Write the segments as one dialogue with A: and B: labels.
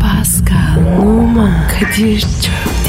A: Pascal, Oman, Kadir çok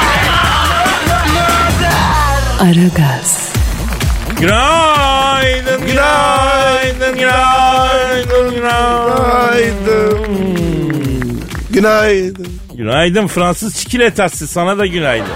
A: Aragaz,
B: Günaydın, günaydın, günaydın, günaydın.
C: Günaydın. Günaydın.
B: Günaydın Fransız çikolatası sana da günaydın.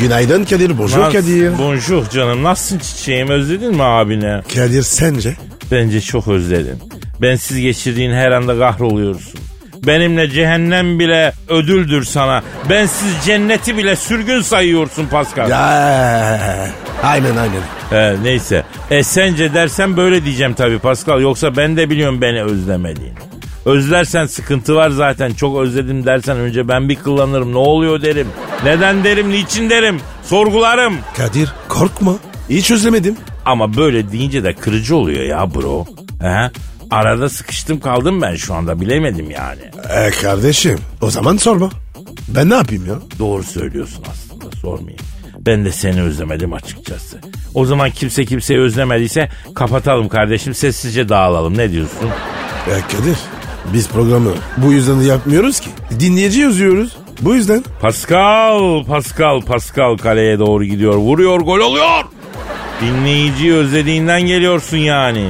C: Günaydın Kadir. Bonjour
B: Frans-
C: Kadir.
B: Bonjour canım nasılsın çiçeğim özledin mi abine?
C: Kadir sence?
B: Bence çok özledim. Bensiz geçirdiğin her anda kahroluyorsun. Benimle cehennem bile ödüldür sana. Bensiz cenneti bile sürgün sayıyorsun Pascal.
C: Ya. Aynen aynen.
B: He, neyse. E sence dersen böyle diyeceğim tabii Pascal. Yoksa ben de biliyorum beni özlemediğini. Özlersen sıkıntı var zaten. Çok özledim dersen önce ben bir kullanırım. Ne oluyor derim. Neden derim, niçin derim. Sorgularım.
C: Kadir korkma. Hiç özlemedim.
B: Ama böyle deyince de kırıcı oluyor ya bro. He? Arada sıkıştım kaldım ben şu anda bilemedim yani.
C: E kardeşim o zaman sorma. Ben ne yapayım ya?
B: Doğru söylüyorsun aslında sormayayım. Ben de seni özlemedim açıkçası. O zaman kimse kimseyi özlemediyse kapatalım kardeşim sessizce dağılalım ne diyorsun?
C: E Kadir biz programı bu yüzden yapmıyoruz ki. Dinleyici yazıyoruz. Bu yüzden.
B: Pascal, Pascal, Pascal kaleye doğru gidiyor. Vuruyor, gol oluyor. Dinleyiciyi özlediğinden geliyorsun yani.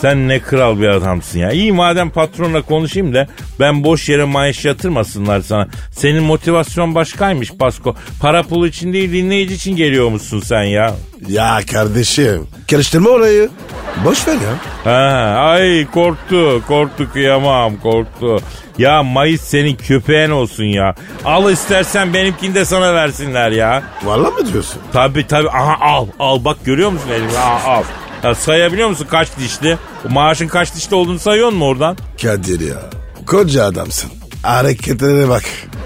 B: Sen ne kral bir adamsın ya. İyi madem patronla konuşayım da ben boş yere maaş yatırmasınlar sana. Senin motivasyon başkaymış Pasko. Para pul için değil dinleyici için geliyormuşsun sen ya.
C: Ya kardeşim karıştırma orayı. Boş ver ya.
B: Ha, ay korktu, korktu kıyamam, korktu. Ya Mayıs senin köpeğin olsun ya. Al istersen benimkini de sana versinler ya.
C: Vallahi mı diyorsun?
B: Tabi tabi aha al al bak görüyor musun elimde aha al. Ya sayabiliyor musun kaç dişli? Maaşın kaç dişli olduğunu sayıyor mu oradan?
C: Kadir ya. Koca adamsın. Hareketlere bak.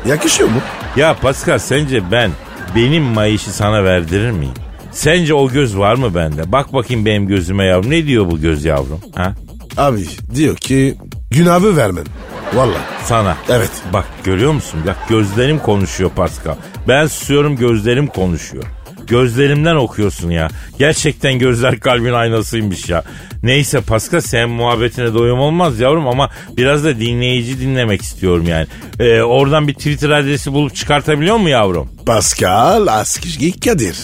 C: Yakışıyor mu?
B: Ya Pascal sence ben benim mayışı sana verdirir miyim? Sence o göz var mı bende? Bak bakayım benim gözüme yavrum. Ne diyor bu göz yavrum? Ha?
C: Abi diyor ki günahı vermem. Valla.
B: Sana.
C: Evet.
B: Bak görüyor musun? Bak gözlerim konuşuyor Pascal. Ben susuyorum gözlerim konuşuyor. Gözlerimden okuyorsun ya. Gerçekten gözler kalbin aynasıymış ya. Neyse Pascal sen muhabbetine doyum olmaz yavrum ama biraz da dinleyici dinlemek istiyorum yani. Ee, oradan bir Twitter adresi bulup çıkartabiliyor mu yavrum?
C: Pascal Askizgi Kadir.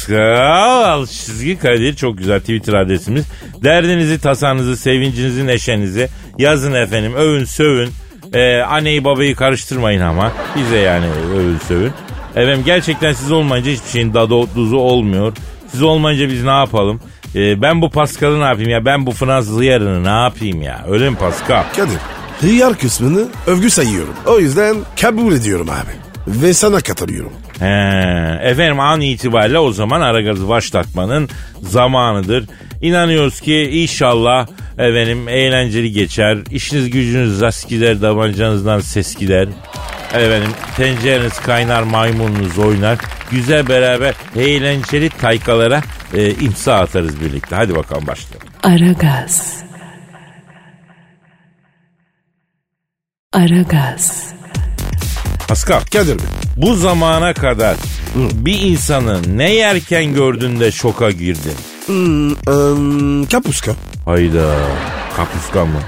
B: Pascal Alçızgi Kadir çok güzel Twitter adresimiz. Derdinizi, tasanızı, sevincinizi, neşenizi yazın efendim. Övün, sövün. Ee, anneyi babayı karıştırmayın ama. Bize yani övün, sövün. Efendim gerçekten siz olmayınca hiçbir şeyin dadı duzu olmuyor. Siz olmayınca biz ne yapalım? Ee, ben bu Pascal'ı ne yapayım ya? Ben bu Fransız yarını ne yapayım ya? Öyle mi Pascal?
C: Kadir. Hıyar kısmını övgü sayıyorum. O yüzden kabul ediyorum abi. Ve sana katılıyorum.
B: He, efendim an itibariyle o zaman Aragaz'ı başlatmanın zamanıdır. İnanıyoruz ki inşallah efendim eğlenceli geçer. İşiniz gücünüz rast gider, davancanızdan ses gider. Efendim tencereniz kaynar, maymununuz oynar. Güzel beraber eğlenceli taykalara e, imza atarız birlikte. Hadi bakalım başlayalım.
A: Aragaz. Aragaz,
B: Pascal
C: Kadir Bey.
B: bu zamana kadar bir insanı ne yerken gördün de şoka girdin?
C: Eee, kapuska.
B: Hayda. Kapuska mı?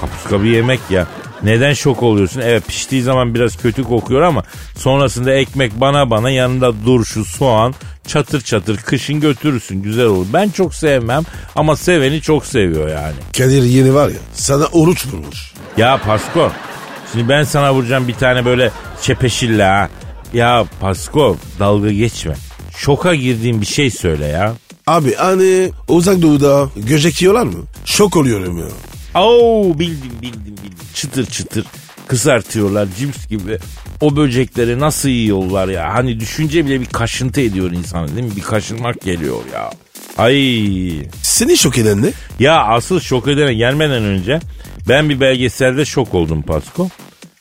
B: Kapuska bir yemek ya. Neden şok oluyorsun? Evet piştiği zaman biraz kötü kokuyor ama sonrasında ekmek bana bana yanında durşu soğan çatır çatır kışın götürürsün güzel olur. Ben çok sevmem ama seveni çok seviyor yani.
C: Kadir yeni var ya sana oruç vurmuş.
B: Ya Pasko şimdi ben sana vuracağım bir tane böyle çepeşille ha. Ya Pasko dalga geçme. Şoka girdiğin bir şey söyle ya.
C: Abi hani uzak doğuda göcek yiyorlar mı? Şok oluyorum ya.
B: Oo bildim bildim bildim. Çıtır çıtır kızartıyorlar cips gibi. O böcekleri nasıl yiyorlar ya? Hani düşünce bile bir kaşıntı ediyor insanı değil mi? Bir kaşınmak geliyor ya. Ay.
C: Seni şok eden ne?
B: Ya asıl şok edene gelmeden önce ben bir belgeselde şok oldum Pasko.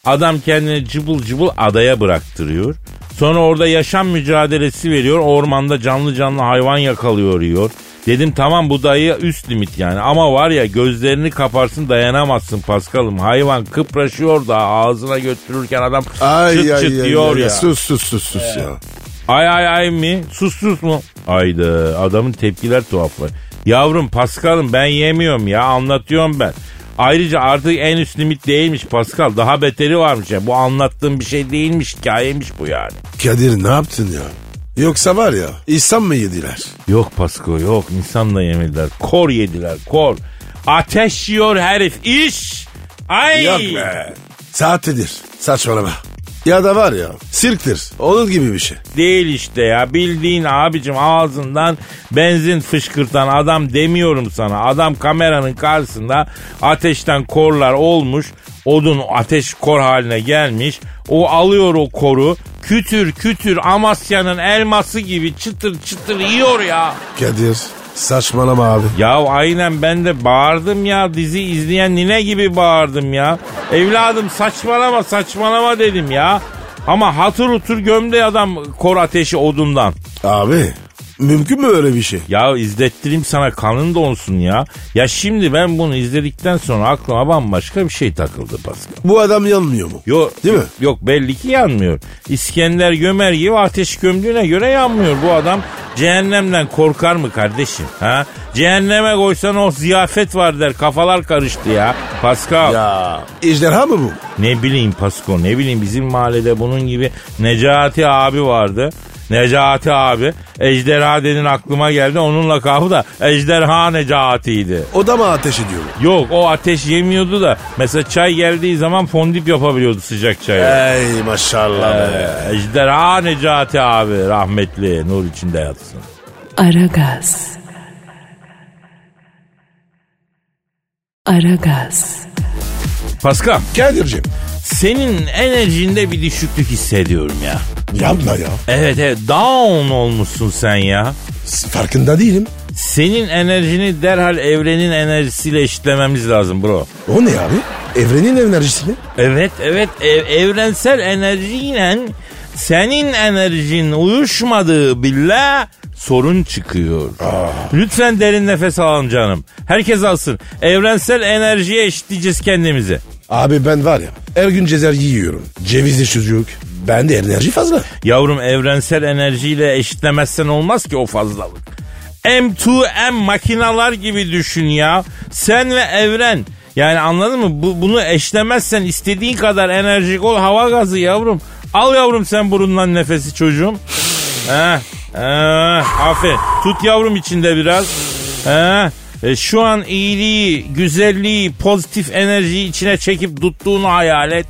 B: Adam kendini cıbıl cıbıl adaya bıraktırıyor. Sonra orada yaşam mücadelesi veriyor. Ormanda canlı canlı hayvan yakalıyor yiyor. Dedim tamam bu dayı üst limit yani. Ama var ya gözlerini kaparsın dayanamazsın Paskal'ım. Hayvan kıpraşıyor da ağzına götürürken adam
C: Ay
B: çıt
C: ay
B: çıt
C: ay,
B: diyor
C: ay,
B: ya.
C: Sus sus sus sus ya.
B: Ay ay ay mi? Sus sus mu? Ayda adamın tepkiler tuhaflar. Yavrum Paskal'ım ben yemiyorum ya anlatıyorum ben. Ayrıca artık en üst limit değilmiş Pascal. Daha beteri varmış ya. Bu anlattığım bir şey değilmiş. Hikayemiş bu yani.
C: Kadir ne yaptın ya? Yoksa var ya insan mı yediler?
B: Yok Pasko yok. İnsanla yemediler. Kor yediler kor. Ateş yiyor herif. iş. Ay.
C: Yok be. Saatidir. Saçmalama. Ya da var ya sirktir. Onun gibi bir şey.
B: Değil işte ya bildiğin abicim ağzından benzin fışkırtan adam demiyorum sana. Adam kameranın karşısında ateşten korlar olmuş. Odun ateş kor haline gelmiş. O alıyor o koru. Kütür kütür Amasya'nın elması gibi çıtır çıtır yiyor ya.
C: Kadir saçmalama abi.
B: Ya aynen ben de bağırdım ya dizi izleyen nine gibi bağırdım ya. Evladım saçmalama saçmalama dedim ya. Ama hatır utur gömde adam kor ateşi odundan.
C: Abi mümkün mü öyle bir şey?
B: Ya izlettireyim sana kanın donsun ya. Ya şimdi ben bunu izledikten sonra aklıma bambaşka bir şey takıldı Pascal.
C: Bu adam yanmıyor mu?
B: Yok,
C: Değil mi?
B: Yok belli ki yanmıyor. İskender Gömer gibi ateş gömdüğüne göre yanmıyor. Bu adam cehennemden korkar mı kardeşim? Ha? Cehenneme koysan o ziyafet var der. Kafalar karıştı ya. Pascal.
C: Ya. İjderha mı bu?
B: Ne bileyim Pasko ne bileyim bizim mahallede bunun gibi Necati abi vardı. Necati abi. Ejderha dedin aklıma geldi. Onun lakabı da Ejderha Necati'ydi.
C: O da mı ateş ediyor?
B: Yok o ateş yemiyordu da mesela çay geldiği zaman fondip yapabiliyordu sıcak çayla.
C: Ey maşallah be.
B: Ee, Ejderha Necati abi rahmetli nur içinde yatsın.
A: Aragaz. Aragaz.
B: Paskal
C: Ee, Kadir'cim
B: senin enerjinde bir düşüklük hissediyorum ya.
C: yapma ya.
B: Evet evet down olmuşsun sen ya.
C: S- Farkında değilim.
B: Senin enerjini derhal evrenin enerjisiyle eşitlememiz lazım bro.
C: O ne abi? Evrenin enerjisini.
B: Evet evet ev- evrensel enerjiyle senin enerjin uyuşmadığı billa sorun çıkıyor. Lütfen derin nefes alalım canım. Herkes alsın. Evrensel enerjiye eşitleyeceğiz kendimizi.
C: Abi ben var ya her gün cezer yiyorum. Cevizli sucuk. Bende enerji fazla.
B: Yavrum evrensel enerjiyle eşitlemezsen olmaz ki o fazlalık. M2M makinalar gibi düşün ya. Sen ve evren. Yani anladın mı? Bu, bunu eşlemezsen istediğin kadar enerjik ol hava gazı yavrum. Al yavrum sen burundan nefesi çocuğum. Heh, heh, aferin. Tut yavrum içinde biraz. Heh. E, şu an iyiliği, güzelliği, pozitif enerjiyi içine çekip tuttuğunu hayal et.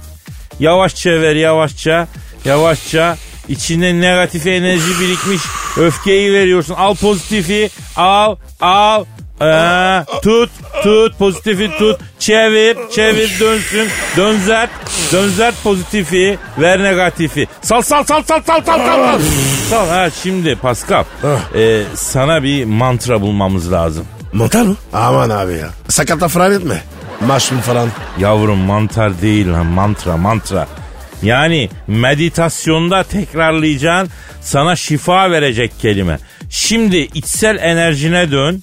B: Yavaşça ver yavaşça. Yavaşça. İçinde negatif enerji birikmiş. Öfkeyi veriyorsun. Al pozitifi. Al. Al. Ee, tut tut pozitifi tut çevir çevir dönsün dönzert dönzert pozitifi ver negatifi sal sal sal sal sal sal sal sal. Sal ha şimdi Pascal
C: Ah.
B: ee, sana bir mantra bulmamız lazım.
C: Mantar mı? Aman abi ya. Sakata fırar etme. Maşrum falan.
B: Yavrum mantar değil lan mantra mantra. Yani meditasyonda tekrarlayacağın sana şifa verecek kelime. Şimdi içsel enerjine dön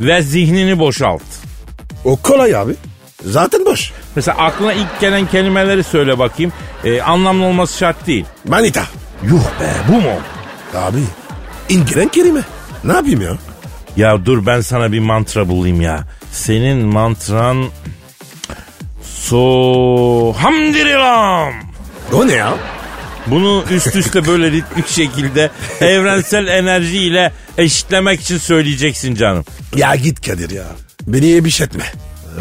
B: ve zihnini boşalt.
C: O kolay abi. Zaten boş.
B: Mesela aklına ilk gelen kelimeleri söyle bakayım. Ee, anlamlı olması şart değil.
C: Manita.
B: Yuh be bu mu?
C: Abi. İngilen kelime. Ne yapayım ya?
B: Ya dur ben sana bir mantra bulayım ya. Senin mantran... So... Hamdirilam.
C: O ne ya?
B: Bunu üst üste böyle ritmik şekilde evrensel enerjiyle eşitlemek için söyleyeceksin canım.
C: Ya git Kadir ya. Beni yemiş etme.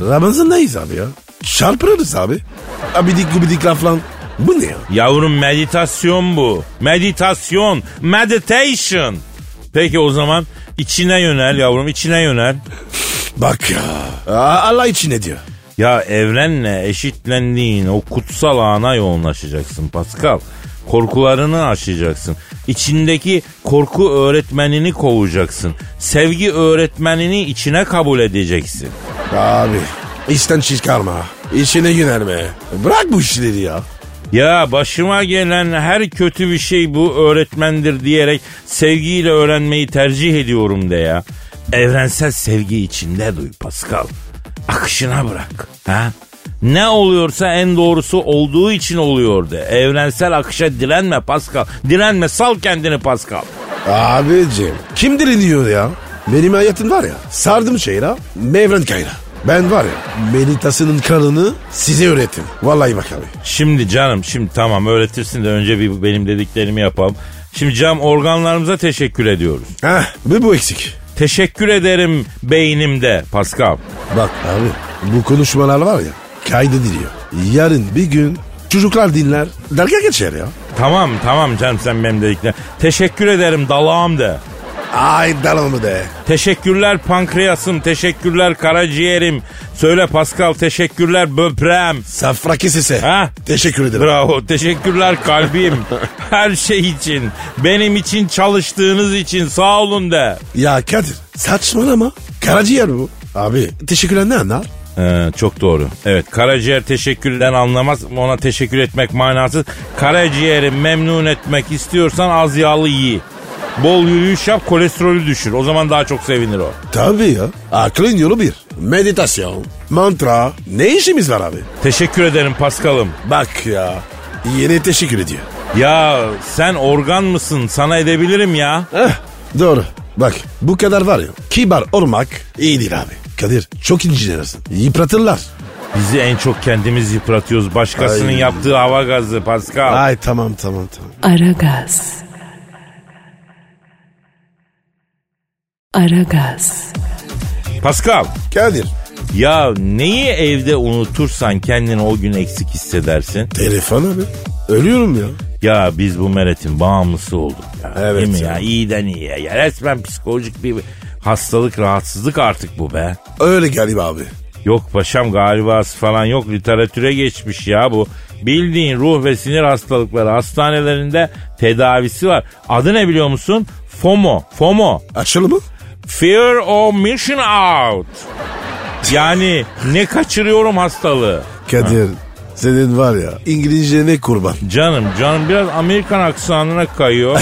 C: Ramazan'dayız abi ya. Çarpırırız abi. Abidik gubidik laflan. Bu ne ya?
B: Yavrum meditasyon bu. Meditasyon. Meditation. Peki o zaman içine yönel yavrum içine yönel.
C: Bak ya. Aa, Allah için ne diyor?
B: Ya evrenle eşitlendiğin o kutsal ana yoğunlaşacaksın Pascal. Korkularını aşacaksın. İçindeki korku öğretmenini kovacaksın. Sevgi öğretmenini içine kabul edeceksin.
C: Abi. İşten çıkarma. İşine günerme. Bırak bu işleri ya.
B: Ya başıma gelen her kötü bir şey bu öğretmendir diyerek sevgiyle öğrenmeyi tercih ediyorum de ya. Evrensel sevgi içinde duy Pascal. Akışına bırak. Ha? Ne oluyorsa en doğrusu olduğu için oluyor de. Evrensel akışa direnme Pascal. Direnme sal kendini Pascal.
C: Abicim kim direniyor ya? Benim hayatım var ya sardım şeyra mevren kayra. Ben var ya meditasının kanını size öğrettim. Vallahi bak abi.
B: Şimdi canım şimdi tamam öğretirsin de önce bir benim dediklerimi yapalım. Şimdi cam organlarımıza teşekkür ediyoruz.
C: Heh bir bu eksik.
B: Teşekkür ederim beynimde Pascal.
C: Bak abi bu konuşmalar var ya kaydediliyor. Yarın bir gün çocuklar dinler dalga geçer ya.
B: Tamam tamam canım sen benim dediklerim. Teşekkür ederim dalağım de.
C: Ay dalamı de.
B: Teşekkürler pankreasım, teşekkürler karaciğerim. Söyle Pascal teşekkürler böbreğim.
C: Safra kesese.
B: Ha?
C: Teşekkür ederim.
B: Bravo teşekkürler kalbim. Her şey için, benim için çalıştığınız için sağ olun de.
C: Ya Kadir saçmalama. Karaciğer bu. Abi teşekkürler ne anlar?
B: Ee, çok doğru. Evet karaciğer teşekkürden anlamaz. Ona teşekkür etmek manasız. Karaciğeri memnun etmek istiyorsan az yağlı yiy. Bol yürüyüş yap kolesterolü düşür. O zaman daha çok sevinir o.
C: Tabii ya. Aklın yolu bir. Meditasyon, mantra. Ne işimiz var abi?
B: Teşekkür ederim Paskal'ım.
C: Bak ya. Yine teşekkür ediyor.
B: Ya sen organ mısın? Sana edebilirim ya.
C: Heh, Eh, doğru. Bak bu kadar var ya. Kibar olmak iyi değil abi. Kadir çok incinirsin. Yıpratırlar.
B: Bizi en çok kendimiz yıpratıyoruz. Başkasının
C: Ay.
B: yaptığı hava gazı Paskal.
C: Ay tamam tamam tamam.
A: Aragaz. Aragaz.
B: Paskal.
C: Kadir.
B: Ya neyi evde unutursan kendini o gün eksik hissedersin?
C: Telefon abi. Ölüyorum ya.
B: Ya biz bu meretin bağımlısı olduk ya.
C: Evet
B: Değil mi
C: ya.
B: ya? İyiden iyiye. Ya resmen psikolojik bir hastalık, rahatsızlık artık bu be.
C: Öyle galiba abi.
B: Yok paşam galibası falan yok. Literatüre geçmiş ya bu. Bildiğin ruh ve sinir hastalıkları hastanelerinde tedavisi var. Adı ne biliyor musun? FOMO. FOMO.
C: Açalım mı?
B: Fear of Mission Out. Yani ne kaçırıyorum hastalığı.
C: Kadir. Senin var ya İngilizce ne kurban.
B: Canım canım biraz Amerikan aksanına kayıyor.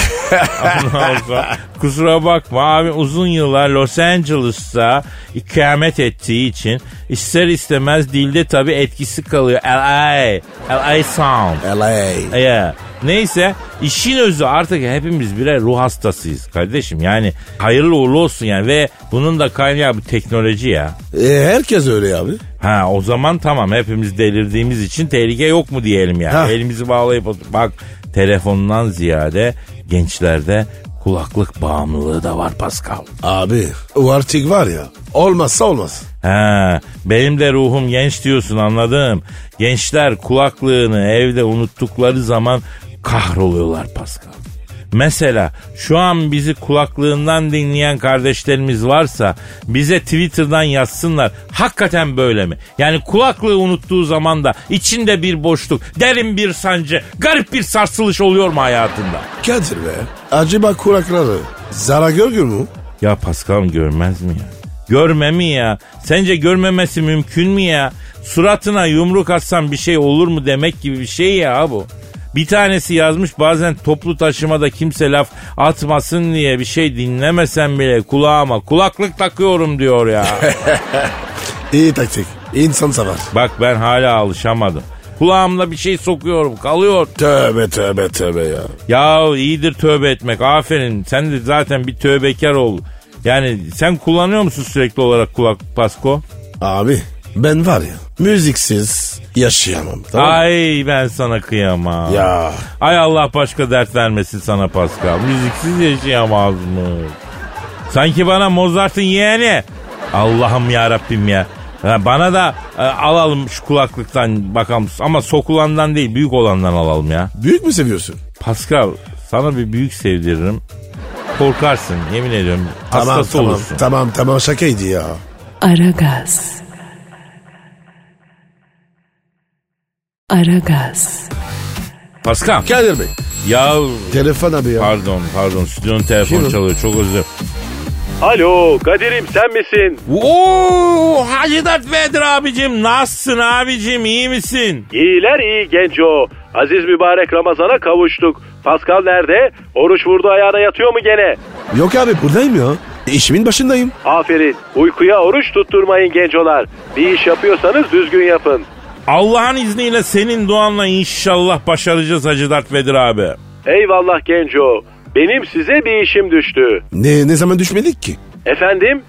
B: Ondan sonra Kusura bakma abi uzun yıllar Los Angeles'ta ikamet ettiği için ister istemez dilde tabi etkisi kalıyor. LA, LA sound.
C: LA.
B: Ya. Neyse işin özü artık hepimiz birer ruh hastasıyız kardeşim. Yani hayırlı uğurlu olsun yani ve bunun da kaynağı bu teknoloji ya.
C: E, herkes öyle abi.
B: Ha o zaman tamam hepimiz delirdiğimiz için tehlike yok mu diyelim yani.
C: Ha.
B: Elimizi bağlayıp otur- bak telefondan ziyade gençlerde kulaklık bağımlılığı da var Pascal.
C: Abi o artık var ya olmazsa olmaz.
B: Ha, benim de ruhum genç diyorsun anladım. Gençler kulaklığını evde unuttukları zaman kahroluyorlar Pascal. Mesela şu an bizi kulaklığından dinleyen kardeşlerimiz varsa bize Twitter'dan yazsınlar. Hakikaten böyle mi? Yani kulaklığı unuttuğu zaman da içinde bir boşluk, derin bir sancı, garip bir sarsılış oluyor mu hayatında?
C: Kadir be acaba kulakları zarar görüyor mu?
B: Ya Pascal görmez mi ya? Görme mi ya? Sence görmemesi mümkün mü ya? Suratına yumruk atsan bir şey olur mu demek gibi bir şey ya bu. Bir tanesi yazmış bazen toplu taşımada kimse laf atmasın diye bir şey dinlemesen bile kulağıma kulaklık takıyorum diyor ya.
C: İyi taktik insan savar.
B: Bak ben hala alışamadım. Kulağımda bir şey sokuyorum kalıyor.
C: Tövbe tövbe tövbe ya.
B: Ya iyidir tövbe etmek aferin sen de zaten bir tövbekar ol. Yani sen kullanıyor musun sürekli olarak kulak Pasko?
C: Abi ben var ya müziksiz yaşayamam tamam mı?
B: Ay ben sana kıyamam.
C: Ya
B: Ay Allah başka dert vermesin sana Pascal. Müziksiz yaşayamaz mı? Sanki bana Mozart'ın yeğeni. Allah'ım ya Rabbim ya. Ha, Bana da e, alalım şu kulaklıktan bakalım ama sokulandan değil büyük olandan alalım ya.
C: büyük mü seviyorsun?
B: Pascal sana bir büyük sevdiririm. Korkarsın yemin ediyorum.
C: Tamam
B: hastası
C: tamam,
B: olursun.
C: tamam tamam şakaydı ya.
A: Aragaz. Aragaz.
B: Pascal.
C: Kadir Bey
B: Ya
C: telefon abi ya.
B: pardon pardon stüdyonun telefonu
C: Kim o?
B: çalıyor çok özür dilerim.
D: Alo Kadir'im sen misin?
B: Oo, Hacı Dert Vedir abicim nasılsın abicim iyi misin?
D: İyiler iyi genco. Aziz mübarek Ramazan'a kavuştuk. Pascal nerede? Oruç vurdu ayağına yatıyor mu gene?
C: Yok abi buradayım ya. İşimin başındayım.
D: Aferin. Uykuya oruç tutturmayın gencolar. Bir iş yapıyorsanız düzgün yapın.
B: Allah'ın izniyle senin duanla inşallah başaracağız Hacı Dert Vedir abi.
D: Eyvallah genco. Benim size bir işim düştü.
C: Ne, ne zaman düşmedik ki?
D: Efendim?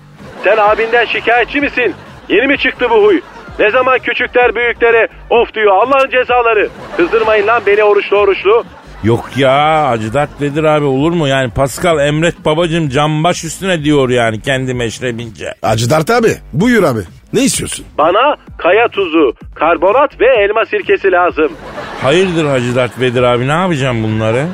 D: Sen abinden şikayetçi misin? Yeni mi çıktı bu huy? Ne zaman küçükler büyüklere of diyor Allah'ın cezaları. Kızdırmayın lan beni oruçlu oruçlu.
B: Yok ya Hacı Dert Vedir abi olur mu? Yani Pascal Emret babacım cambaş üstüne diyor yani kendi meşrebince.
C: Acı Dert abi. Buyur abi. Ne istiyorsun?
D: Bana kaya tuzu, karbonat ve elma sirkesi lazım.
B: Hayırdır Hacı Dert Vedir abi ne yapacağım bunları?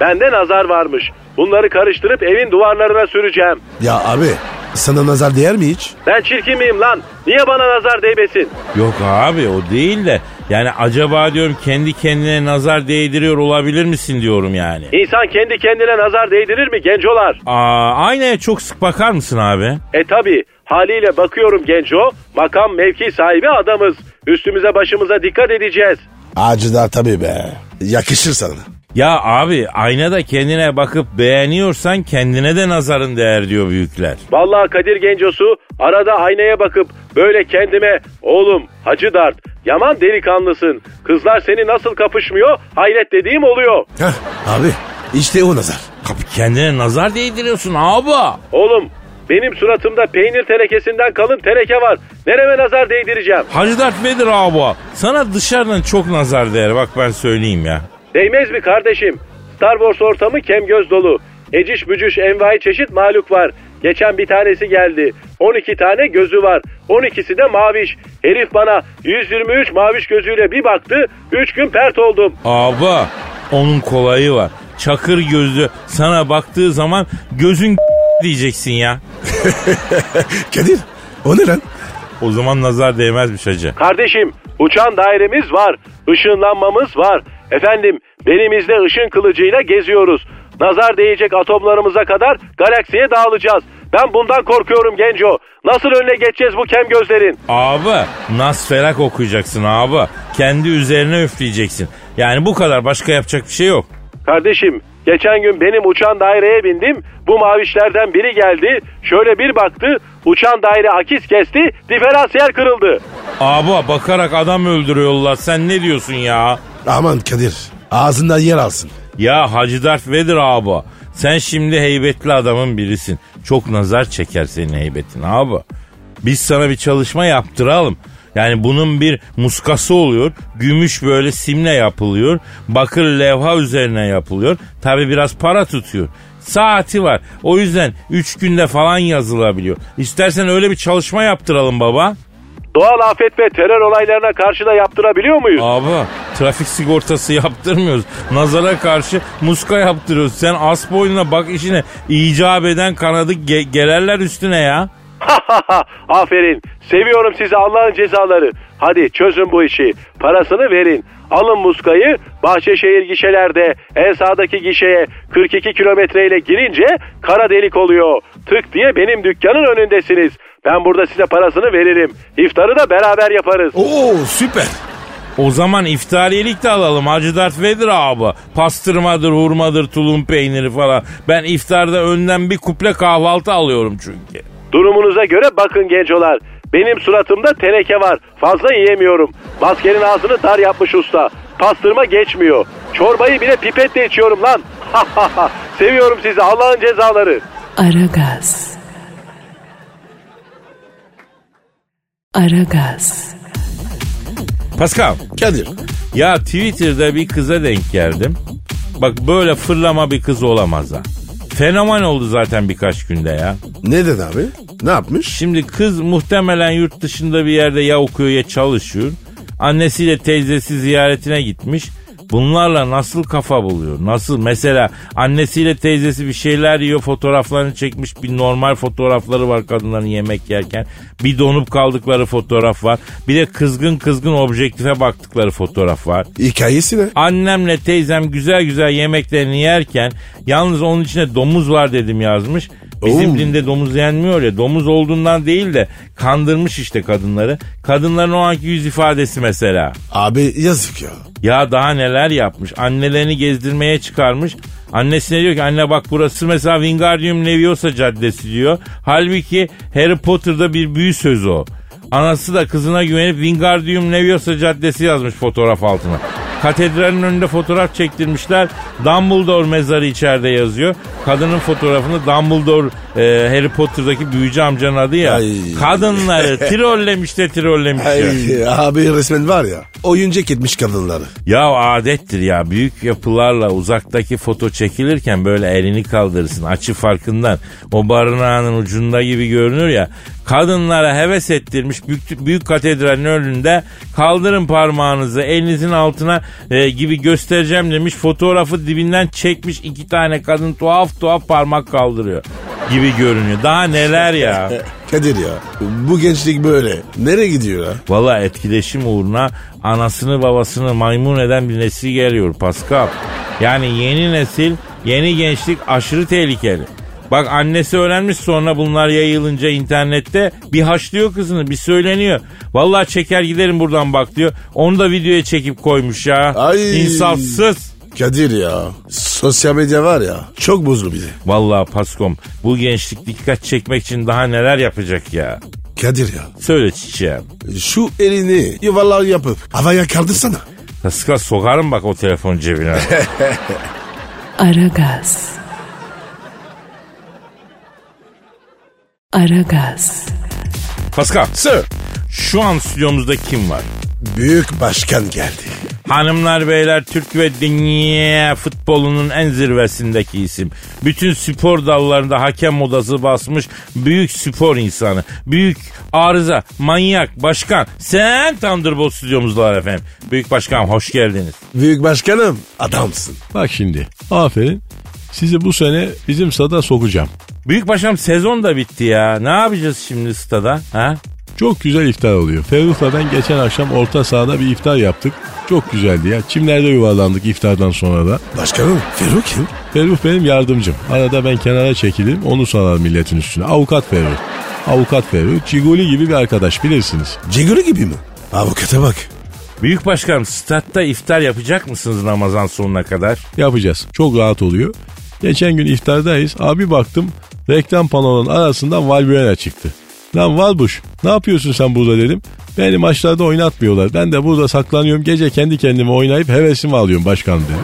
D: Bende nazar varmış. Bunları karıştırıp evin duvarlarına süreceğim.
C: Ya abi sana nazar değer mi hiç?
D: Ben çirkin miyim lan? Niye bana nazar değmesin?
B: Yok abi o değil de yani acaba diyorum kendi kendine nazar değdiriyor olabilir misin diyorum yani.
D: İnsan kendi kendine nazar değdirir mi gencolar?
B: Aa, aynaya çok sık bakar mısın abi?
D: E tabi haliyle bakıyorum genco. Makam mevki sahibi adamız. Üstümüze başımıza dikkat edeceğiz.
C: Acı Dert tabii be. Yakışır sana.
B: Ya abi aynada kendine bakıp beğeniyorsan kendine de nazarın değer diyor büyükler.
D: Vallahi Kadir Gencosu arada aynaya bakıp böyle kendime oğlum Hacı Dart yaman delikanlısın. Kızlar seni nasıl kapışmıyor hayret dediğim oluyor.
C: Heh, abi işte o nazar.
B: Abi kendine nazar değdiriyorsun abi.
D: Oğlum benim suratımda peynir tenekesinden kalın teneke var. Nereme nazar değdireceğim?
B: Hacı Dert Vedir abi. Sana dışarıdan çok nazar değer bak ben söyleyeyim ya.
D: Değmez mi kardeşim? Star Wars ortamı kem göz dolu. Eciş bücüş envai çeşit mahluk var. Geçen bir tanesi geldi. 12 tane gözü var. 12'si de maviş. Herif bana 123 maviş gözüyle bir baktı. 3 gün pert oldum.
B: Abi onun kolayı var. Çakır gözlü sana baktığı zaman gözün diyeceksin ya.
C: Kadir o ne lan?
B: O zaman nazar değmezmiş hacı.
D: Kardeşim uçan dairemiz var. Işınlanmamız var. Efendim belimizde ışın kılıcıyla geziyoruz. Nazar değecek atomlarımıza kadar galaksiye dağılacağız. Ben bundan korkuyorum Genco. Nasıl önüne geçeceğiz bu kem gözlerin?
B: Abi nasferak okuyacaksın abi. Kendi üzerine üfleyeceksin. Yani bu kadar başka yapacak bir şey yok.
D: Kardeşim geçen gün benim uçan daireye bindim. Bu mavişlerden biri geldi. Şöyle bir baktı. Uçan daire akis kesti. Diferansiyel kırıldı.
B: Abi bakarak adam öldürüyorlar sen ne diyorsun ya?
C: Aman Kadir ağzından yer alsın.
B: Ya Hacı Darth Vader abi. Sen şimdi heybetli adamın birisin. Çok nazar çeker senin heybetin abi. Biz sana bir çalışma yaptıralım. Yani bunun bir muskası oluyor. Gümüş böyle simle yapılıyor. Bakır levha üzerine yapılıyor. Tabi biraz para tutuyor. Saati var. O yüzden 3 günde falan yazılabiliyor. İstersen öyle bir çalışma yaptıralım baba.
D: Doğal afet ve terör olaylarına karşı da yaptırabiliyor muyuz?
B: Abi trafik sigortası yaptırmıyoruz. Nazara karşı muska yaptırıyoruz. Sen as boynuna bak işine icap eden kanadı ge- gelerler üstüne ya.
D: Aferin. Seviyorum sizi Allah'ın cezaları. Hadi çözün bu işi. Parasını verin. Alın muskayı Bahçeşehir gişelerde en sağdaki gişeye 42 kilometreyle girince kara delik oluyor. Tık diye benim dükkanın önündesiniz. Ben burada size parasını veririm. İftarı da beraber yaparız.
C: Oo süper.
B: O zaman iftariyelik de alalım Hacı Dert Vedir abi. Pastırmadır, hurmadır, tulum peyniri falan. Ben iftarda önden bir kuple kahvaltı alıyorum çünkü.
D: Durumunuza göre bakın gencolar. Benim suratımda teneke var. Fazla yiyemiyorum. Maskenin ağzını dar yapmış usta. Pastırma geçmiyor. Çorbayı bile pipetle içiyorum lan. Seviyorum sizi Allah'ın cezaları.
A: Aragaz. Aragaz.
B: Pascal,
C: Kadir
B: ya Twitter'da bir kıza denk geldim. Bak böyle fırlama bir kız olamaz ha. Fenomen oldu zaten birkaç günde ya.
C: ne dedi abi? Ne yapmış?
B: Şimdi kız muhtemelen yurt dışında bir yerde ya okuyor ya çalışıyor. Annesiyle teyzesi ziyaretine gitmiş. Bunlarla nasıl kafa buluyor? Nasıl mesela annesiyle teyzesi bir şeyler yiyor fotoğraflarını çekmiş bir normal fotoğrafları var kadınların yemek yerken. Bir donup kaldıkları fotoğraf var. Bir de kızgın kızgın objektife baktıkları fotoğraf var.
C: Hikayesi ne?
B: Annemle teyzem güzel güzel yemeklerini yerken yalnız onun içine domuz var dedim yazmış. Bizim
C: Oo.
B: dinde domuz yenmiyor ya. Domuz olduğundan değil de kandırmış işte kadınları. Kadınların o anki yüz ifadesi mesela.
C: Abi yazık ya.
B: Ya daha neler yapmış. Annelerini gezdirmeye çıkarmış. Annesine diyor ki anne bak burası mesela Wingardium Leviosa caddesi diyor. Halbuki Harry Potter'da bir büyü sözü o. Anası da kızına güvenip Wingardium Leviosa caddesi yazmış fotoğraf altına. Katedralin önünde fotoğraf çektirmişler. Dumbledore mezarı içeride yazıyor. Kadının fotoğrafını Dumbledore e, Harry Potter'daki büyücü amcanın adı ya.
C: Ay.
B: Kadınları trollemiş de trollemiş ya.
C: Ay, abi resmen var ya. Oyuncak etmiş kadınları.
B: Ya adettir ya büyük yapılarla uzaktaki foto çekilirken böyle elini kaldırırsın açı farkından o barınağının ucunda gibi görünür ya kadınlara heves ettirmiş büyük, büyük katedralin önünde kaldırın parmağınızı elinizin altına e, gibi göstereceğim demiş fotoğrafı dibinden çekmiş iki tane kadın tuhaf tuhaf parmak kaldırıyor gibi görünüyor daha neler ya.
C: Kadir ya bu gençlik böyle. Nereye gidiyor ya?
B: Valla etkileşim uğruna anasını babasını maymun eden bir nesil geliyor Pascal. Yani yeni nesil, yeni gençlik aşırı tehlikeli. Bak annesi öğrenmiş sonra bunlar yayılınca internette bir haşlıyor kızını bir söyleniyor. Vallahi çeker giderim buradan bak diyor. Onu da videoya çekip koymuş ya.
C: Ay.
B: İnsafsız.
C: Kadir ya sosyal medya var ya çok bozdu bizi.
B: Vallahi Paskom bu gençlik dikkat çekmek için daha neler yapacak ya.
C: Kadir ya
B: Söyle çiçeğim.
C: şu elini yuvarlar yapıp havaya kaldırsana.
B: Pascal sokarım bak o telefon cebine.
A: Aragaz. Aragaz.
B: Pascal
C: Sir
B: şu an stüdyomuzda kim var?
C: büyük başkan geldi.
B: Hanımlar beyler Türk ve dünya futbolunun en zirvesindeki isim. Bütün spor dallarında hakem odası basmış büyük spor insanı. Büyük arıza, manyak, başkan. Sen Thunderbolt stüdyomuzda var efendim. Büyük başkan hoş geldiniz.
C: Büyük başkanım adamsın.
E: Bak şimdi aferin sizi bu sene bizim sada sokacağım.
B: Büyük başkanım sezon da bitti ya. Ne yapacağız şimdi stada? Ha?
E: Çok güzel iftar oluyor. Ferrufa'dan geçen akşam orta sahada bir iftar yaptık. Çok güzeldi ya. Çimlerde yuvarlandık iftardan sonra da.
C: Başkanım Ferruh kim?
E: Ferruh benim yardımcım. Arada ben kenara çekilirim onu sarar milletin üstüne. Avukat Ferruh. Avukat Ferruh. Ciguli gibi bir arkadaş bilirsiniz.
C: Ciguli gibi mi? Avukata bak.
B: Büyük başkanım statta iftar yapacak mısınız Ramazan sonuna kadar?
E: Yapacağız. Çok rahat oluyor. Geçen gün iftardayız. Abi baktım reklam panolarının arasından Valbuena çıktı. Lan Valbuş ne yapıyorsun sen burada dedim. Beni maçlarda oynatmıyorlar. Ben de burada saklanıyorum. Gece kendi kendime oynayıp hevesimi alıyorum başkanım dedim.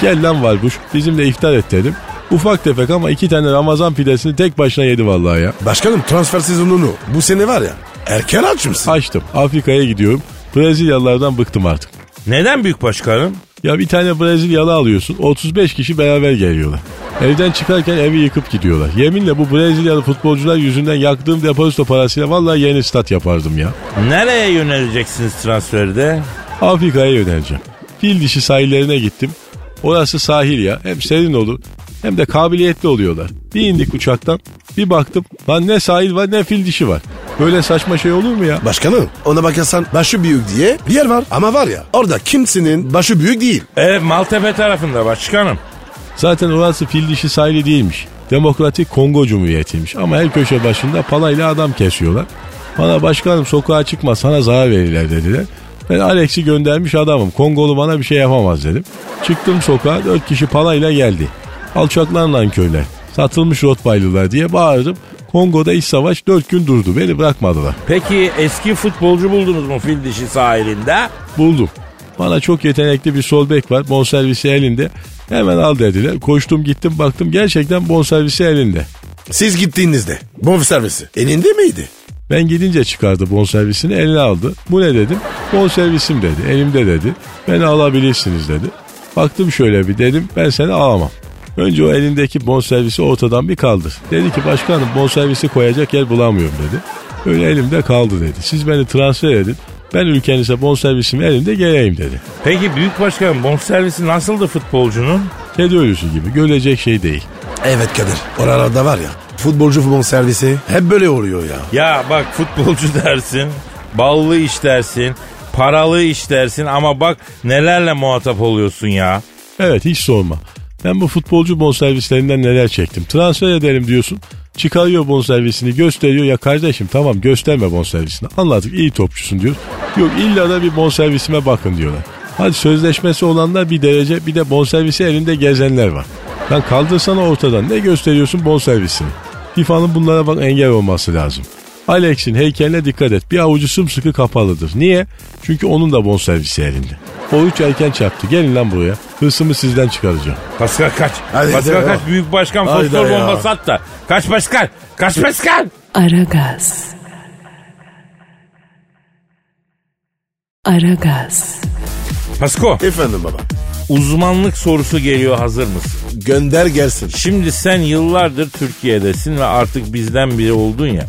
E: Gel lan Valbuş bizimle iftar et dedim. Ufak tefek ama iki tane Ramazan pidesini tek başına yedi vallahi ya.
C: Başkanım transfer sezonunu bu sene var ya erken açmışsın.
E: Açtım. Afrika'ya gidiyorum. Brezilyalılardan bıktım artık.
B: Neden büyük başkanım?
E: Ya bir tane Brezilyalı alıyorsun. 35 kişi beraber geliyorlar. Evden çıkarken evi yıkıp gidiyorlar. Yeminle bu Brezilyalı futbolcular yüzünden yaktığım depozito parasıyla vallahi yeni stat yapardım ya.
B: Nereye yöneleceksiniz transferde?
E: Afrika'ya yöneleceğim. Fil dişi sahillerine gittim. Orası sahil ya. Hem serin olur hem de kabiliyetli oluyorlar. Bir indik uçaktan bir baktım. Lan ne sahil var ne fil dişi var. Böyle saçma şey olur mu ya?
C: Başkanım ona bakarsan başı büyük diye bir yer var. Ama var ya orada kimsenin başı büyük değil.
B: Evet Maltepe tarafında başkanım.
E: Zaten orası fil dişi sahili değilmiş. Demokratik Kongo Cumhuriyeti'ymiş. Ama her köşe başında palayla adam kesiyorlar. Bana başkanım sokağa çıkma sana zarar verirler dediler. Ben Alex'i göndermiş adamım. Kongolu bana bir şey yapamaz dedim. Çıktım sokağa dört kişi palayla geldi. Alçaklar lan köyler. Satılmış Rottweiler'lar diye bağırdım. Kongo'da iç savaş dört gün durdu. Beni bırakmadılar.
B: Peki eski futbolcu buldunuz mu fil dişi sahilinde?
E: Buldum. Bana çok yetenekli bir sol bek var. Bonservisi elinde. Hemen al dediler. Koştum gittim baktım gerçekten bonservisi elinde.
C: Siz gittiğinizde bonservisi elinde miydi?
E: Ben gidince çıkardı bonservisini eline aldı. Bu ne dedim? Bonservisim dedi. Elimde dedi. Beni alabilirsiniz dedi. Baktım şöyle bir dedim ben seni alamam. Önce o elindeki bonservisi ortadan bir kaldır. Dedi ki başkanım bonservisi koyacak yer bulamıyorum dedi. Öyle elimde kaldı dedi. Siz beni transfer edin. Ben ülkenize bonservisimi elimde geleyim dedi.
B: Peki büyük başkanım bonservisi nasıldı futbolcunun?
E: Kedi ölüsü gibi görecek şey değil.
C: Evet Kadir. Oralarda var ya futbolcu bonservisi hep böyle oluyor ya.
B: Ya bak futbolcu dersin, ballı iş dersin, paralı iş dersin ama bak nelerle muhatap oluyorsun ya.
E: Evet hiç sorma. Ben bu futbolcu bonservislerinden neler çektim. Transfer edelim diyorsun. Çıkarıyor bonservisini gösteriyor. Ya kardeşim tamam gösterme bonservisini. Anladık iyi topçusun diyor. Yok illa da bir bonservisime bakın diyorlar. Hadi sözleşmesi olanlar bir derece bir de bonservisi elinde gezenler var. Lan kaldırsana ortadan ne gösteriyorsun bonservisini. FIFA'nın bunlara bak engel olması lazım. Alex'in heykeline dikkat et. Bir avucu sımsıkı kapalıdır. Niye? Çünkü onun da bonservisi elinde. O üç erken çarptı. Gelin lan buraya. Hırsımı sizden çıkaracağım.
B: Pascal kaç.
C: Hadi
B: Pascal
C: de
B: kaç.
C: ya.
B: Büyük başkan
C: Hayda
B: fosfor
C: ya.
B: bombası at da. Kaç Pascal. Kaç Pascal.
A: Aragaz. Aragaz.
B: Pasko
C: Efendim baba.
B: uzmanlık sorusu geliyor hazır mısın?
C: Gönder gelsin.
B: Şimdi sen yıllardır Türkiye'desin ve artık bizden biri oldun ya.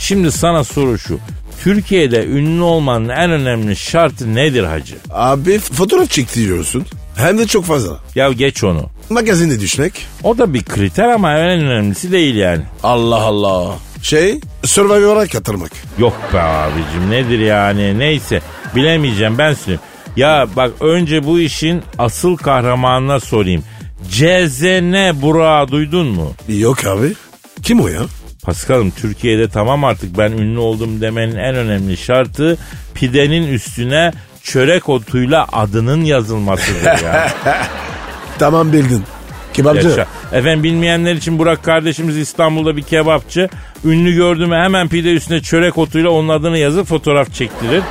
B: Şimdi sana soru şu. Türkiye'de ünlü olmanın en önemli şartı nedir hacı?
C: Abi fotoğraf çektiriyorsun. Hem de çok fazla.
B: Ya geç onu.
C: Magazinde düşmek.
B: O da bir kriter ama en önemlisi değil yani.
C: Allah Allah. Şey, Survivor'a katılmak.
B: Yok be abicim nedir yani neyse bilemeyeceğim ben söyleyeyim. Ya bak önce bu işin asıl kahramanına sorayım. CZN Burak'ı duydun mu?
C: Yok abi. Kim o ya?
B: Paskal'ım Türkiye'de tamam artık ben ünlü oldum demenin en önemli şartı pidenin üstüne çörek otuyla adının yazılmasıdır ya.
C: Tamam bildin. Kebapçı.
B: Yaşa. Efendim bilmeyenler için Burak kardeşimiz İstanbul'da bir kebapçı. Ünlü gördü mü hemen pide üstüne çörek otuyla onun adını yazıp fotoğraf çektirir.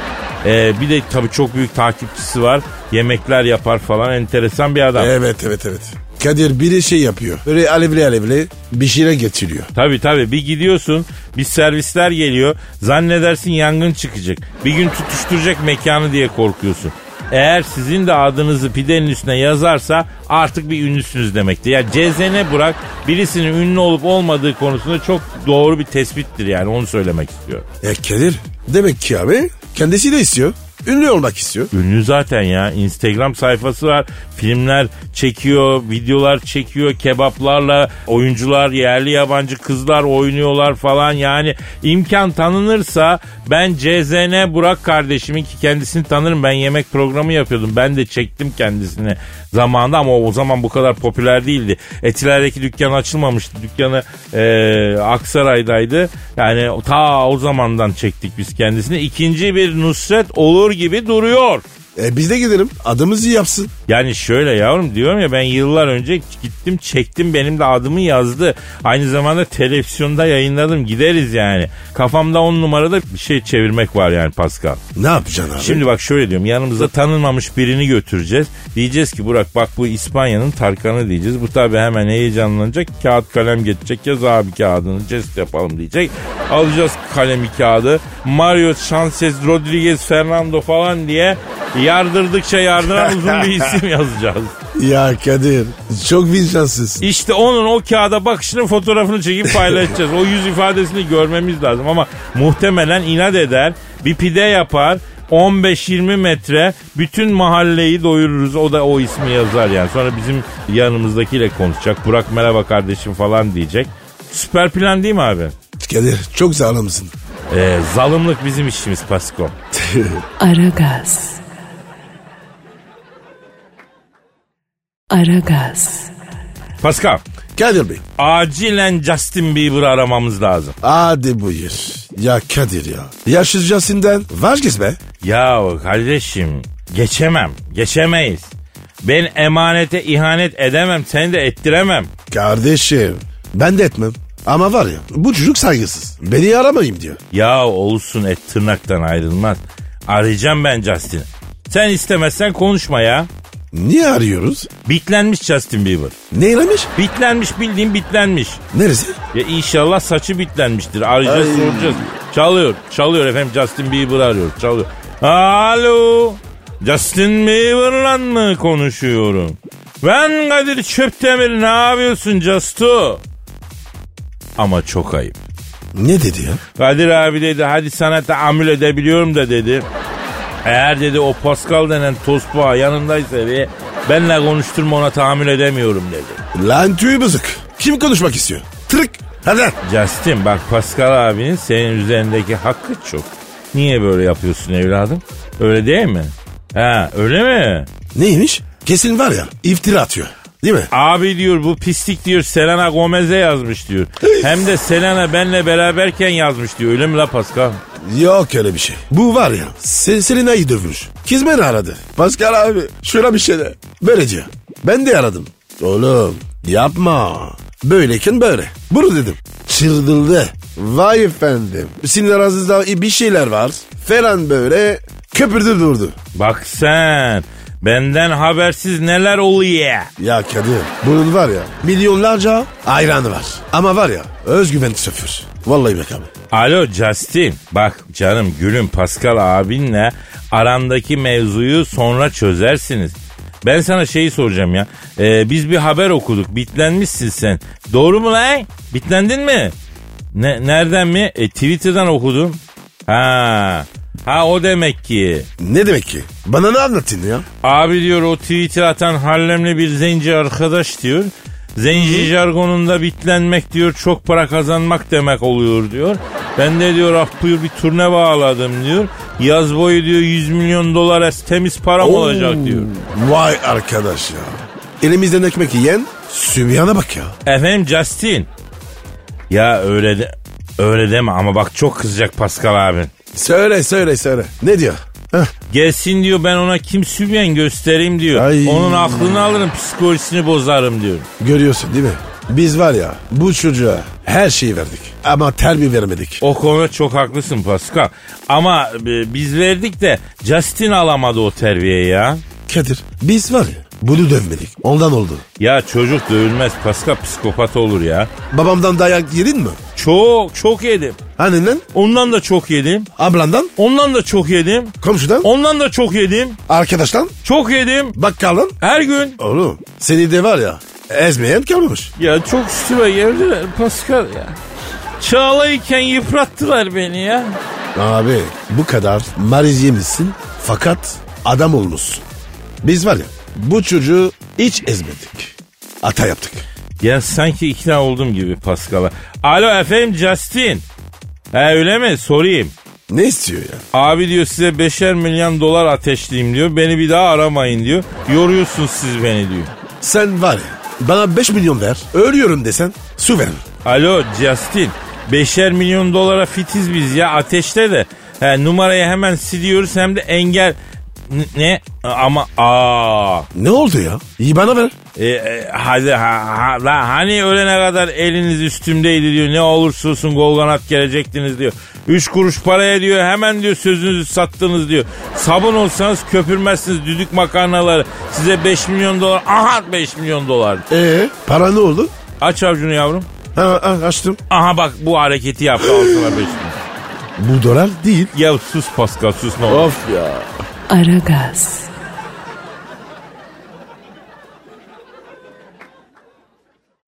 B: Ee, bir de tabii çok büyük takipçisi var. Yemekler yapar falan enteresan bir adam.
C: Evet evet evet. Kadir biri şey yapıyor. Böyle alevli alevli bir şeyler getiriyor.
B: Tabii tabii bir gidiyorsun bir servisler geliyor zannedersin yangın çıkacak. Bir gün tutuşturacak mekanı diye korkuyorsun. Eğer sizin de adınızı pidenin üstüne yazarsa artık bir ünlüsünüz demektir. Ya cezene bırak birisinin ünlü olup olmadığı konusunda çok doğru bir tespittir yani onu söylemek istiyorum.
C: E Kadir demek ki abi kendisi de istiyor. Ünlü olmak istiyor.
B: Ünlü zaten ya Instagram sayfası var filmler çekiyor videolar çekiyor kebaplarla oyuncular yerli yabancı kızlar oynuyorlar falan yani imkan tanınırsa ben CZN Burak kardeşimin ki kendisini tanırım ben yemek programı yapıyordum ben de çektim kendisini zamanında ama o zaman bu kadar popüler değildi Etiler'deki dükkan açılmamıştı dükkanı eee, Aksaray'daydı yani ta o zamandan çektik biz kendisini ikinci bir Nusret olur gibi duruyor.
C: E biz de gidelim adımızı yapsın.
B: Yani şöyle yavrum diyorum ya ben yıllar önce gittim çektim benim de adımı yazdı. Aynı zamanda televizyonda yayınladım gideriz yani. Kafamda on numarada bir şey çevirmek var yani Pascal.
C: Ne yapacaksın abi?
B: Şimdi bak şöyle diyorum yanımıza tanınmamış birini götüreceğiz. Diyeceğiz ki Burak bak bu İspanya'nın Tarkan'ı diyeceğiz. Bu tabi hemen heyecanlanacak. Kağıt kalem geçecek yaz abi kağıdını jest yapalım diyecek. Alacağız kalemi kağıdı. Mario Sanchez, Rodriguez, Fernando falan diye yardırdıkça yardıran uzun bir isim yazacağız.
C: Ya Kadir çok vicdansız.
B: İşte onun o kağıda bakışının fotoğrafını çekip paylaşacağız. o yüz ifadesini görmemiz lazım ama muhtemelen inat eder. Bir pide yapar. 15-20 metre bütün mahalleyi doyururuz. O da o ismi yazar yani. Sonra bizim yanımızdakiyle konuşacak. Burak merhaba kardeşim falan diyecek. Süper plan değil mi abi?
C: Kadir çok sağlamsın.
B: Ee, zalımlık bizim işimiz Pasko.
A: Aragaz. Aragaz.
B: Pascal
C: Kadir Bey
B: acilen Justin Bieber'ı aramamız lazım.
C: hadi buyur. Ya Kadir ya. Yaşlıcasından vazgeç be.
B: Ya kardeşim geçemem, geçemeyiz. Ben emanete ihanet edemem, seni de ettiremem.
C: Kardeşim ben de etmem. Ama var ya bu çocuk saygısız. Beni aramayayım diyor.
B: Ya olsun et tırnaktan ayrılmaz. Arayacağım ben Justin'i. Sen istemezsen konuşma ya.
C: Niye arıyoruz?
B: Bitlenmiş Justin Bieber.
C: Neylemiş?
B: Bitlenmiş bildiğin bitlenmiş.
C: Neresi?
B: Ya inşallah saçı bitlenmiştir. Arayacağız
C: Ay.
B: soracağız. Çalıyor, çalıyor efendim Justin Bieber arıyor, çalıyor. Alo, Justin Bieber'la mı konuşuyorum? Ben Kadir Çöptemir, ne yapıyorsun Justu? Ama çok ayıp.
C: Ne dedi ya?
B: Kadir abi dedi hadi sana tahammül edebiliyorum da dedi. Eğer dedi o Pascal denen tosbağa yanındaysa ve benle konuşturma ona tahammül edemiyorum dedi.
C: Lan tüy bozuk. Kim konuşmak istiyor? Tırık. Hadi. lan.
B: Justin bak Pascal abinin senin üzerindeki hakkı çok. Niye böyle yapıyorsun evladım? Öyle değil mi? Ha öyle mi?
C: Neymiş? Kesin var ya iftira atıyor. Değil mi?
B: Abi diyor bu pislik diyor Selena Gomez'e yazmış diyor. Hem de Selena benle beraberken yazmış diyor. Öyle mi la Pascal?
C: Yok öyle bir şey. Bu var ya Se- Selena'yı dövmüş. Kız beni aradı. Pascal abi şuna bir şey de. Böylece ben de aradım. Oğlum yapma. Böyleyken böyle. Bunu dedim. Çıldırdı. Vay efendim. Sizin aranızda bir şeyler var. Falan böyle köpürdü durdu.
B: Bak sen benden habersiz neler oluyor.
C: Ya Kadir bunun var ya milyonlarca hayranı var. Ama var ya özgüven sıfır. Vallahi bak abi.
B: Alo Justin bak canım gülüm Pascal abinle arandaki mevzuyu sonra çözersiniz. Ben sana şeyi soracağım ya. Ee, biz bir haber okuduk. Bitlenmişsin sen. Doğru mu lan? Bitlendin mi? Ne, nereden mi? E, Twitter'dan okudum. Ha. Ha o demek ki.
C: Ne demek ki? Bana ne anlattın ya?
B: Abi diyor o tweet'i atan Harlemli bir zenci arkadaş diyor. Zenci jargonunda bitlenmek diyor çok para kazanmak demek oluyor diyor. Ben de diyor ah buyur bir turne bağladım diyor. Yaz boyu diyor 100 milyon dolar es- temiz param olacak diyor.
C: Vay arkadaş ya. Elimizden ekmek yiyen Sübyan'a bak ya.
B: Efendim Justin. Ya öyle de, öyle deme ama bak çok kızacak Pascal abin.
C: Söyle söyle söyle. Ne diyor? Heh,
B: Gelsin diyor ben ona kim sübyen göstereyim diyor.
C: Ay.
B: Onun aklını alırım psikolojisini bozarım diyor.
C: görüyorsun değil mi? Biz var ya bu çocuğa her şeyi verdik. Ama terbiye vermedik.
B: O konuda çok haklısın Pascal. Ama e, biz verdik de Justin alamadı o terbiyeyi ya.
C: Kadir biz var ya bunu dövmedik. Ondan oldu.
B: Ya çocuk dövülmez Pascal psikopat olur ya.
C: Babamdan dayak yedin mi?
B: Çok çok yedim.
C: Annenden,
B: Ondan da çok yedim.
C: ablandan,
B: Ondan da çok yedim.
C: komşudan,
B: Ondan da çok yedim.
C: arkadaştan,
B: Çok yedim.
C: bakkaldan.
B: Her gün.
C: Oğlum seni de var ya ezmeyen kalmamış.
B: Ya çok üstüme geldiler Pascal ya. Çağlayken yıprattılar beni ya.
C: Abi bu kadar mariz yemişsin fakat adam olmuşsun. Biz var ya bu çocuğu hiç ezmedik. Hata yaptık.
B: Ya sanki ikna oldum gibi Pascal'a. Alo efendim Justin. Ha öyle mi? Sorayım.
C: Ne istiyor ya?
B: Abi diyor size beşer milyon dolar ateşleyeyim diyor. Beni bir daha aramayın diyor. Yoruyorsunuz siz beni diyor.
C: Sen var ya bana 5 milyon ver ölüyorum desen su ver.
B: Alo Justin. Beşer milyon dolara fitiz biz ya ateşle de. He, numarayı hemen siliyoruz hem de engel... N- ne? Ama aa.
C: Ne oldu ya? İyi bana ver.
B: E, e, hadi ha, ha- la, hani ölene kadar eliniz üstümdeydi diyor. Ne olursa olsun golganat gelecektiniz diyor. Üç kuruş paraya diyor hemen diyor sözünüzü sattınız diyor. Sabun olsanız köpürmezsiniz düdük makarnaları. Size 5 milyon dolar. Aha 5 milyon dolar.
C: Ee para ne oldu?
B: Aç avcunu yavrum.
C: Ha, ha, açtım.
B: Aha bak bu hareketi yaptı al sana 5 milyon.
C: Bu dolar değil.
B: Ya sus Pascal sus ne olur.
C: Of ya.
A: Aragaz.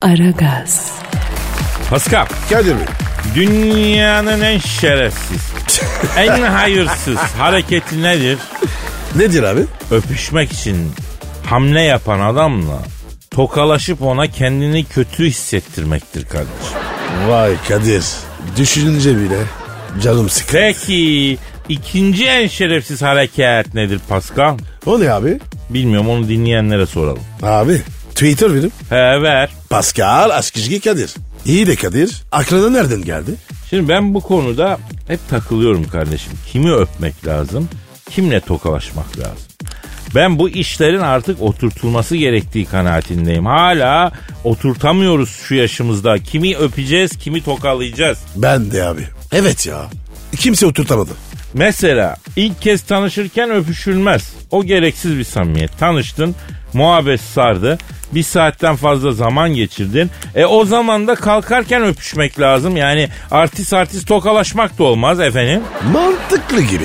A: Aragaz.
B: Pascal
C: Kadir Bey.
B: dünyanın en şerefsiz, en hayırsız hareketi nedir?
C: Nedir abi?
B: öpüşmek için hamle yapan adamla tokalaşıp ona kendini kötü hissettirmektir kardeşim.
C: Vay Kadir. Düşününce bile canım sıkı.
B: Peki ikinci en şerefsiz hareket nedir Pascal?
C: O ne abi?
B: Bilmiyorum onu dinleyenlere soralım.
C: Abi Twitter benim.
B: He ver.
C: Pascal Askizgi Kadir. İyi de Kadir. Aklına nereden geldi?
B: Şimdi ben bu konuda hep takılıyorum kardeşim. Kimi öpmek lazım? Kimle tokalaşmak lazım? Ben bu işlerin artık oturtulması gerektiği kanaatindeyim. Hala oturtamıyoruz şu yaşımızda. Kimi öpeceğiz, kimi tokalayacağız.
C: Ben de abi. Evet ya. Kimse oturtamadı.
B: Mesela ilk kez tanışırken öpüşülmez. O gereksiz bir samimiyet. Tanıştın, muhabbet sardı. Bir saatten fazla zaman geçirdin. E o zaman da kalkarken öpüşmek lazım. Yani artist artist tokalaşmak da olmaz efendim.
C: Mantıklı gibi.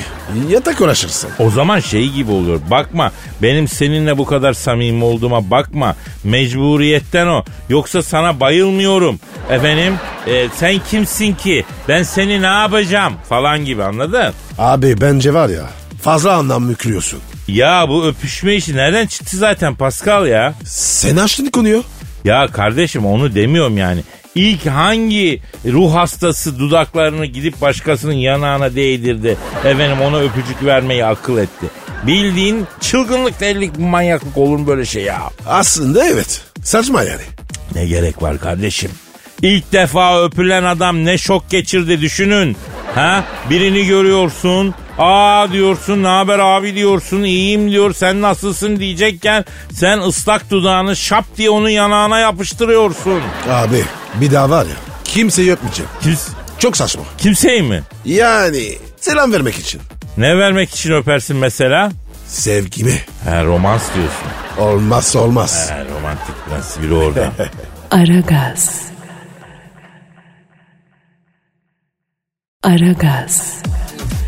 C: Yatak uğraşırsın.
B: O zaman şey gibi oluyor. Bakma benim seninle bu kadar samimi olduğuma bakma. Mecburiyetten o. Yoksa sana bayılmıyorum. Efendim e, sen kimsin ki? Ben seni ne yapacağım? Falan gibi anladın?
C: Abi bence var ya fazla anlam yüklüyorsun.
B: Ya bu öpüşme işi nereden çıktı zaten Pascal ya?
C: Sen açtın konuyu.
B: Ya kardeşim onu demiyorum yani. İlk hangi ruh hastası dudaklarını gidip başkasının yanağına değdirdi. Efendim ona öpücük vermeyi akıl etti. Bildiğin çılgınlık delilik manyaklık olur mu böyle şey ya?
C: Aslında evet. Saçma yani.
B: Ne gerek var kardeşim? İlk defa öpülen adam ne şok geçirdi düşünün. Ha? Birini görüyorsun. Aa diyorsun ne haber abi diyorsun iyiyim diyor sen nasılsın diyecekken sen ıslak dudağını şap diye onun yanağına yapıştırıyorsun.
C: Abi bir daha var ya kimseyi öpmeyeceğim.
B: Kims-
C: Çok saçma.
B: kimseyi mi?
C: Yani selam vermek için.
B: Ne vermek için öpersin mesela?
C: Sevgimi
B: Ha, romans diyorsun.
C: olmazsa olmaz.
B: Ha, romantik prens biri orada.
A: Aragaz. Aragaz.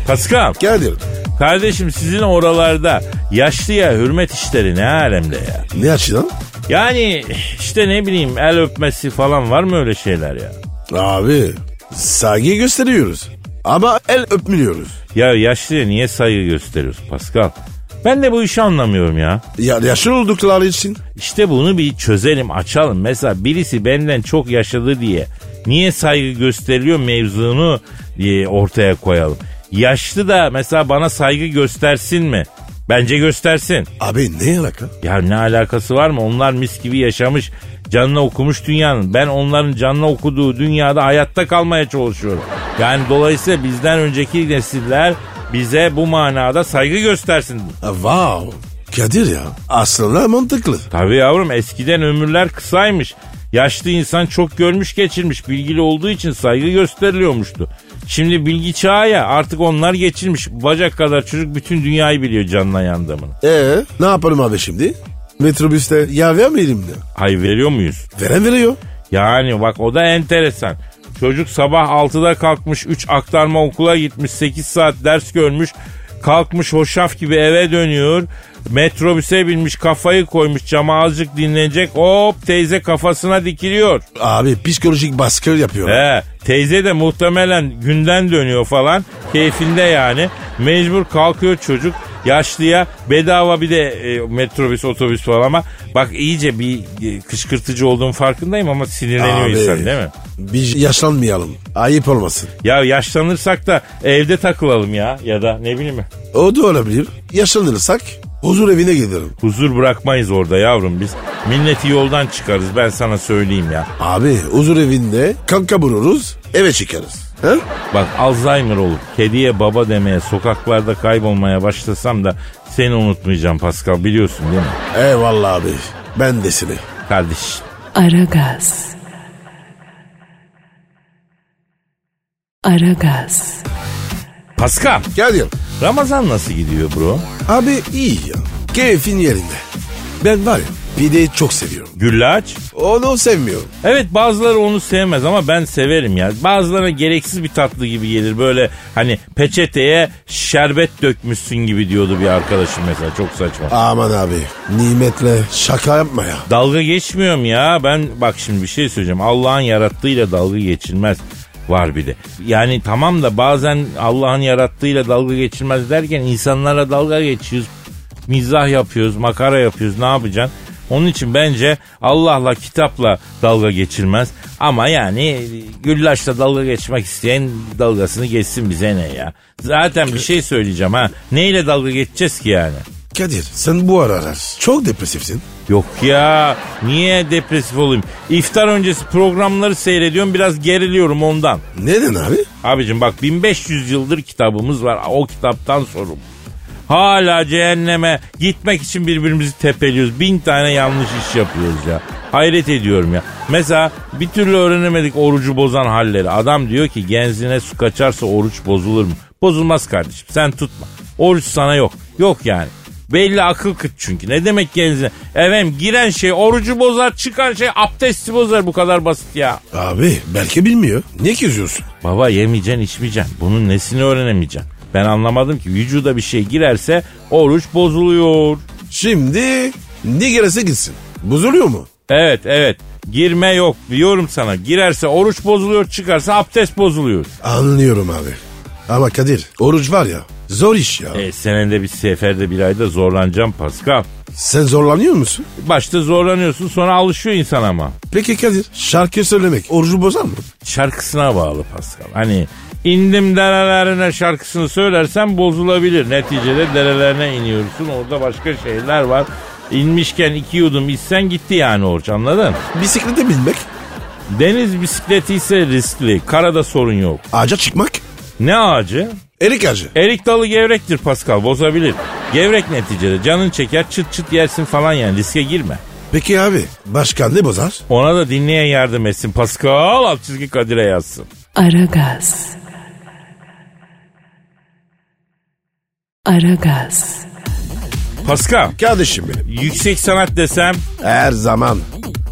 B: Pascal
C: Kadir
B: kardeşim sizin oralarda yaşlıya hürmet işleri ne alemde ya?
C: ne açıdan?
B: Yani işte ne bileyim el öpmesi falan var mı öyle şeyler ya?
C: Abi saygı gösteriyoruz ama el öpmüyoruz.
B: Ya yaşlıya niye saygı gösteriyoruz Pascal? Ben de bu işi anlamıyorum ya.
C: Ya, yaşlı oldukları için.
B: İşte bunu bir çözelim açalım. Mesela birisi benden çok yaşadı diye niye saygı gösteriliyor mevzunu diye ortaya koyalım. Yaşlı da mesela bana saygı göstersin mi? Bence göstersin.
C: Abi ne alaka?
B: Ya ne alakası var mı? Onlar mis gibi yaşamış, canına okumuş dünyanın. Ben onların canına okuduğu dünyada hayatta kalmaya çalışıyorum. Yani dolayısıyla bizden önceki nesiller bize bu manada saygı göstersin.
C: Ha, Wow. Kadir ya aslında mantıklı.
B: Tabii yavrum eskiden ömürler kısaymış. Yaşlı insan çok görmüş geçirmiş bilgili olduğu için saygı gösteriliyormuştu. Şimdi bilgi çağı ya artık onlar geçirmiş. Bacak kadar çocuk bütün dünyayı biliyor canına yandamını.
C: Ee ne yapalım abi şimdi? Metrobüste ya vermeyelim de.
B: Hay veriyor muyuz?
C: Veren veriyor.
B: Yani bak o da enteresan. Çocuk sabah 6'da kalkmış, 3 aktarma okula gitmiş, 8 saat ders görmüş. Kalkmış hoşaf gibi eve dönüyor. Metrobüse binmiş, kafayı koymuş, cama azıcık dinlenecek. Hop teyze kafasına dikiliyor.
C: Abi psikolojik baskı yapıyor.
B: He, teyze de muhtemelen günden dönüyor falan. Keyfinde yani. Mecbur kalkıyor çocuk. Yaşlıya bedava bir de e, metrobüs otobüs falan ama bak iyice bir e, kışkırtıcı olduğum farkındayım ama sinirleniyor
C: Abi,
B: insan değil mi?
C: Biz yaşlanmayalım. Ayıp olmasın.
B: Ya yaşlanırsak da evde takılalım ya ya da ne bileyim
C: O da olabilir. Yaşlanırsak huzur evine giderim.
B: huzur bırakmayız orada yavrum biz. Milleti yoldan çıkarız ben sana söyleyeyim ya.
C: Abi huzur evinde kanka buluruz eve çıkarız. He?
B: Bak Alzheimer olup kediye baba demeye sokaklarda kaybolmaya başlasam da seni unutmayacağım Pascal biliyorsun değil mi?
C: Eyvallah abi. Ben de seni.
B: Kardeş
A: Aragaz. Aragaz.
B: Pascal
C: Kadir.
B: Ramazan nasıl gidiyor bro?
C: Abi iyi ya. Keyfin yerinde. Ben var ya pideyi çok seviyorum.
B: Güllaç?
C: Onu sevmiyorum.
B: Evet bazıları onu sevmez ama ben severim ya. Bazılarına gereksiz bir tatlı gibi gelir. Böyle hani peçeteye şerbet dökmüşsün gibi diyordu bir arkadaşım mesela. Çok saçma.
C: Aman abi nimetle şaka yapma ya.
B: Dalga geçmiyorum ya. Ben bak şimdi bir şey söyleyeceğim. Allah'ın yarattığıyla dalga geçilmez. Var bir de. Yani tamam da bazen Allah'ın yarattığıyla dalga geçilmez derken insanlara dalga geçiyoruz. Mizah yapıyoruz, makara yapıyoruz. Ne yapacaksın? Onun için bence Allah'la kitapla dalga geçilmez. Ama yani güllaçla dalga geçmek isteyen dalgasını geçsin bize ne ya. Zaten bir şey söyleyeceğim ha. Neyle dalga geçeceğiz ki yani?
C: Kadir sen bu aralar çok depresifsin.
B: Yok ya niye depresif olayım? İftar öncesi programları seyrediyorum biraz geriliyorum ondan.
C: Neden abi?
B: Abicim bak 1500 yıldır kitabımız var o kitaptan sorum. Hala cehenneme gitmek için birbirimizi tepeliyoruz. Bin tane yanlış iş yapıyoruz ya. Hayret ediyorum ya. Mesela bir türlü öğrenemedik orucu bozan halleri. Adam diyor ki genzine su kaçarsa oruç bozulur mu? Bozulmaz kardeşim sen tutma. Oruç sana yok. Yok yani. Belli akıl kıt çünkü. Ne demek genzine? Efendim giren şey orucu bozar, çıkan şey abdesti bozar. Bu kadar basit ya.
C: Abi belki bilmiyor. Niye geziyorsun?
B: Baba yemeyeceksin, içmeyeceksin. Bunun nesini öğrenemeyeceksin? Ben anlamadım ki vücuda bir şey girerse oruç bozuluyor.
C: Şimdi ne gelirse gitsin. Bozuluyor mu?
B: Evet, evet. Girme yok diyorum sana. Girerse oruç bozuluyor, çıkarsa abdest bozuluyor.
C: Anlıyorum abi. Ama Kadir oruç var ya zor iş ya.
B: E, senede bir seferde bir ayda zorlanacağım Pascal.
C: Sen zorlanıyor musun?
B: Başta zorlanıyorsun sonra alışıyor insan ama.
C: Peki Kadir şarkı söylemek orucu bozar mı?
B: şarkısına bağlı Pascal. Hani indim derelerine şarkısını söylersen bozulabilir. Neticede derelerine iniyorsun. Orada başka şeyler var. İnmişken iki yudum içsen gitti yani oruç anladın?
C: Bisiklete binmek,
B: Deniz bisikleti ise riskli. Karada sorun yok.
C: ağaca çıkmak,
B: Ne ağacı?
C: erik ağacı.
B: Erik dalı gevrektir Pascal bozabilir. Gevrek neticede canın çeker çıt çıt yersin falan yani riske girme.
C: Peki abi başkan ne bozar?
B: Ona da dinleyen yardım etsin. Pascal alt çizgi Kadir'e yazsın.
A: Aragaz. Aragaz.
B: Pascal
C: Kardeşim benim.
B: yüksek sanat desem
C: Her zaman.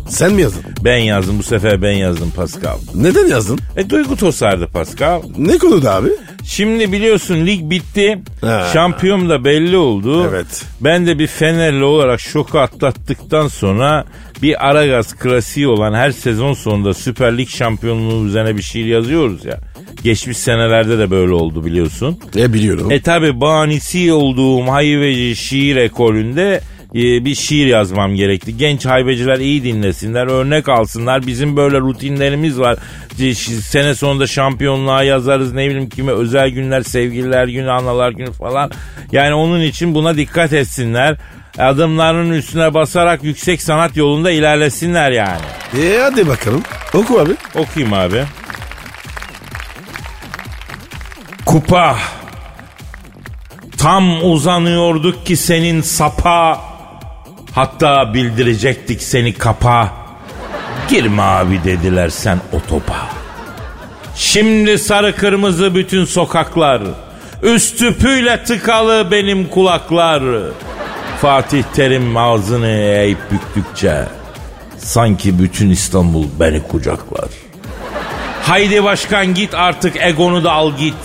C: Sen mi yazdın?
B: ben yazdım bu sefer ben yazdım Pascal.
C: Neden yazdın?
B: E duygu tosardı Pascal.
C: Ne konuda abi?
B: Şimdi biliyorsun lig bitti.
C: Ha.
B: Şampiyon da belli oldu.
C: Evet.
B: Ben de bir Fenerli olarak şoku atlattıktan sonra bir Aragaz klasiği olan her sezon sonunda Süper Lig şampiyonluğu üzerine bir şiir yazıyoruz ya. Geçmiş senelerde de böyle oldu biliyorsun.
C: E biliyorum.
B: E tabi banisi olduğum haybeci şiir ekolünde e, bir şiir yazmam gerekti. Genç haybeciler iyi dinlesinler, örnek alsınlar. Bizim böyle rutinlerimiz var. E, ş- Sene sonunda şampiyonluğa yazarız ne bileyim kime özel günler, sevgililer günü, analar günü falan. Yani onun için buna dikkat etsinler. Adımlarının üstüne basarak yüksek sanat yolunda ilerlesinler yani.
C: E hadi bakalım. Oku abi.
B: Okuyayım abi. Kupa. Tam uzanıyorduk ki senin sapa. Hatta bildirecektik seni kapa. Girme abi dediler sen o topa. Şimdi sarı kırmızı bütün sokaklar. Üstüpüyle tıkalı benim kulaklar. Fatih Terim ağzını eğip büktükçe. Sanki bütün İstanbul beni kucaklar. Haydi başkan git artık egonu da al git.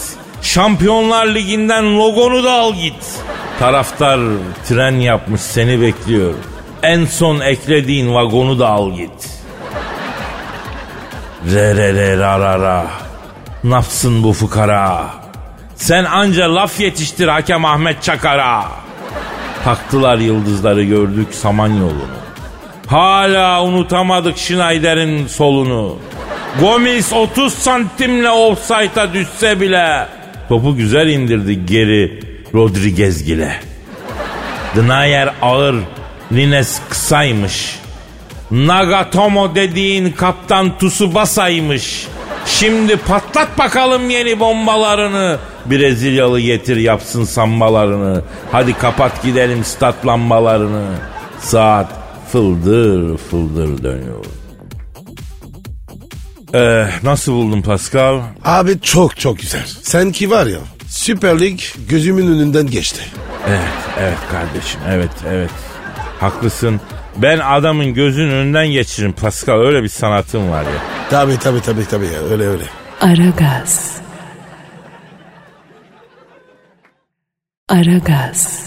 B: Şampiyonlar Ligi'nden logonu da al git. Taraftar tren yapmış seni bekliyor. En son eklediğin vagonu da al git. Re re re ra ra ra. Napsın bu fukara. Sen anca laf yetiştir hakem Ahmet Çakar'a. Taktılar yıldızları gördük Samanyolu'nu. Hala unutamadık Schneider'in solunu. Gomis 30 santimle offside'a düşse bile topu güzel indirdi geri Rodriguez gile. Dnayer ağır, Lines kısaymış. Nagatomo dediğin kaptan Tsubasa'ymış. Şimdi patlat bakalım yeni bombalarını. Brezilyalı getir yapsın sambalarını. Hadi kapat gidelim stat lambalarını. Saat fıldır fıldır dönüyor. Eh, nasıl buldun Pascal?
C: Abi çok çok güzel. Sanki var ya Süper Lig gözümün önünden geçti.
B: Evet, Eh, evet kardeşim. Evet, evet. Haklısın. Ben adamın gözünün önünden geçiririm Pascal. Öyle bir sanatım var ya.
C: Tabi tabi tabi tabi ya öyle öyle.
A: Aragaz. Aragaz.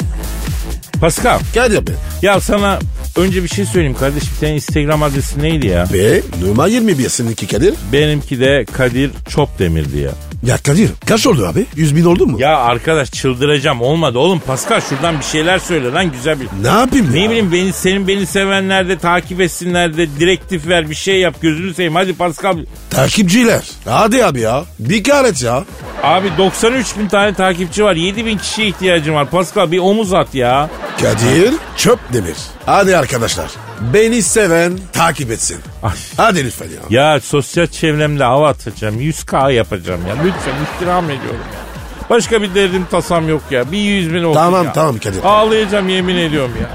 B: Pascal,
C: Gel ya be.
B: ya sana önce bir şey söyleyeyim kardeşim. Senin Instagram adresi neydi ya?
C: Ve numara 21 seninki Kadir.
B: Benimki de Kadir Çopdemir'di ya.
C: Ya Kadir kaç oldu abi? 100 bin oldu mu?
B: Ya arkadaş çıldıracağım olmadı. Oğlum Pascal şuradan bir şeyler söyle lan güzel bir...
C: Ne yapayım ya?
B: Ne bileyim beni senin beni sevenler de takip etsinler de direktif ver bir şey yap gözünü seveyim. Hadi Pascal
C: Takipçiler. Hadi abi ya. Bir karet ya.
B: Abi 93 bin tane takipçi var. 7 bin kişiye ihtiyacım var. Pascal bir omuz at ya.
C: Kadir çöp demir. Hadi arkadaşlar. Beni seven takip etsin.
B: Ay.
C: Hadi lütfen ya.
B: Ya sosyal çevremde hava atacağım. 100K yapacağım ya. Lütfen istirham ediyorum ya. Başka bir derdim tasam yok ya. Bir 100 bin olsun
C: Tamam
B: ya.
C: tamam Kadir.
B: Ağlayacağım yemin ediyorum ya.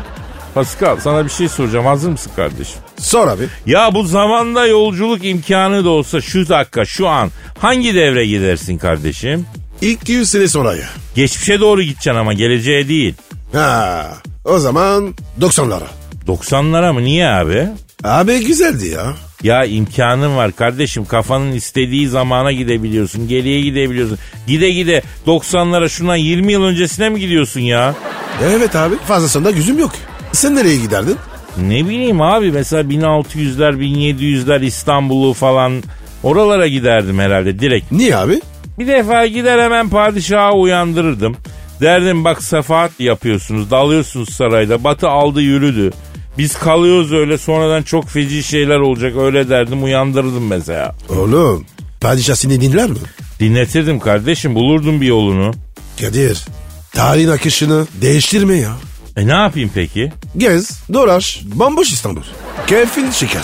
B: Pascal sana bir şey soracağım. Hazır mısın kardeşim?
C: Sor abi.
B: Ya bu zamanda yolculuk imkanı da olsa şu dakika şu an hangi devre gidersin kardeşim?
C: İlk 200 sene sonra ya.
B: Geçmişe doğru gideceksin ama geleceğe değil.
C: Ha, o zaman 90'lara.
B: 90'lara mı? Niye abi?
C: Abi güzeldi ya.
B: Ya imkanın var kardeşim kafanın istediği zamana gidebiliyorsun geriye gidebiliyorsun. Gide gide 90'lara şundan 20 yıl öncesine mi gidiyorsun ya?
C: Evet abi fazlasında gözüm yok. Sen nereye giderdin?
B: Ne bileyim abi mesela 1600'ler 1700'ler İstanbul'u falan oralara giderdim herhalde direkt.
C: Niye abi?
B: Bir defa gider hemen padişahı uyandırırdım. Derdim bak sefahat yapıyorsunuz dalıyorsunuz sarayda batı aldı yürüdü. Biz kalıyoruz öyle sonradan çok feci şeyler olacak öyle derdim uyandırırdım mesela.
C: Oğlum padişah seni dinler mi?
B: Dinletirdim kardeşim bulurdum bir yolunu.
C: Kadir tarihin akışını değiştirme ya.
B: E ne yapayım peki?
C: Gez, dolaş, bomboş İstanbul. Keyfin şeker.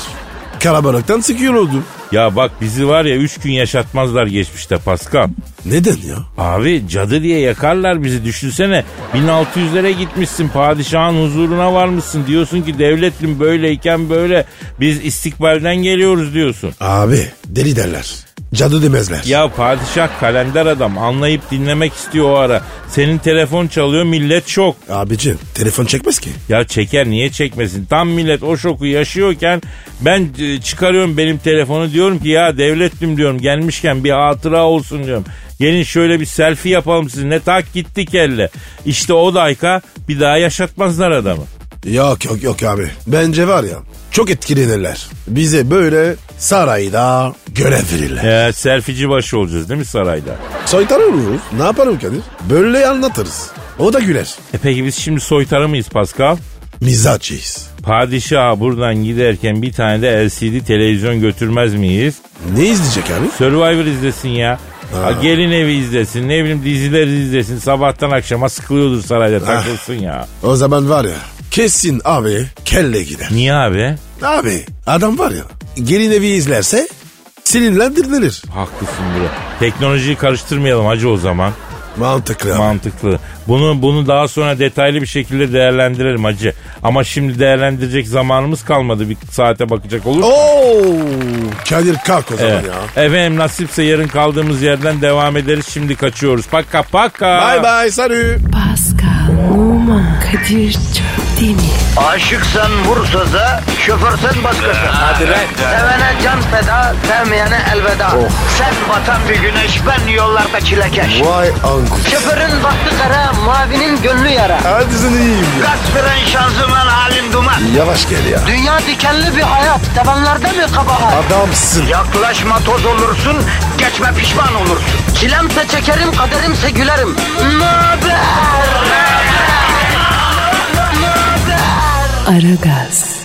C: Kalabalıktan sıkıyor oldum.
B: Ya bak bizi var ya 3 gün yaşatmazlar geçmişte Pascal.
C: Neden ya?
B: Abi cadı diye yakarlar bizi düşünsene. 1600'lere gitmişsin padişahın huzuruna varmışsın. Diyorsun ki devletim böyleyken böyle biz istikbalden geliyoruz diyorsun.
C: Abi deli derler. Cadı demezler.
B: Ya padişah kalender adam anlayıp dinlemek istiyor o ara. Senin telefon çalıyor millet şok.
C: Abicim telefon çekmez ki.
B: Ya çeker niye çekmesin? Tam millet o şoku yaşıyorken ben e, çıkarıyorum benim telefonu diyorum ki ya devletim diyorum gelmişken bir hatıra olsun diyorum. Gelin şöyle bir selfie yapalım siz ne tak gittik elle. İşte o dakika bir daha yaşatmazlar adamı.
C: Yok yok yok abi. Bence var ya çok etkilenirler. Bize böyle sarayda görev verirler.
B: Ee, selfieci başı olacağız değil mi sarayda?
C: Soytar oluruz. Ne yaparım Kadir? Böyle anlatırız. O da güler.
B: E peki biz şimdi soytarı mıyız Pascal?
C: Mizaççıyız.
B: Padişaha buradan giderken bir tane de LCD televizyon götürmez miyiz?
C: Ne izleyecek abi?
B: Survivor izlesin ya. Ha, gelin evi izlesin ne bileyim diziler izlesin sabahtan akşama sıkılıyordur sarayda takılsın ya.
C: O zaman var ya kesin abi kelle gider.
B: Niye abi?
C: Abi adam var ya gelin evi izlerse sinirlendirilir.
B: Haklısın bro. Teknolojiyi karıştırmayalım hacı o zaman.
C: Mantıklı. abi.
B: Mantıklı. Bunu bunu daha sonra detaylı bir şekilde değerlendirelim hacı. Ama şimdi değerlendirecek zamanımız kalmadı. Bir saate bakacak olur.
C: Oo, Kadir kalk o zaman
B: Evet.
C: ya.
B: Efendim nasipse yarın kaldığımız yerden devam ederiz. Şimdi kaçıyoruz. Paka paka.
C: Bye bye sarı.
A: Pascal, Oman, Kadir çok değil mi?
F: Aşıksan vursa da, şoförsen başkasın. Hadi Sevene can feda, sevmeyene elveda. Sen batan bir güneş, ben yollarda çilekeş.
C: Vay anku.
F: Şoförün baktı kara, mavinin gönlü yara.
C: Hadi sen iyiyim ya.
F: Kasperen şanzıman halin duman.
C: Yavaş gel ya.
F: Dünya dikenli bir hayat, sevenlerde mi kabahar?
C: Adamsın.
F: Yaklaşma toz olursun, geçme pişman olursun. Çilemse çekerim, kaderimse gülerim. Möber!
A: Aragaz.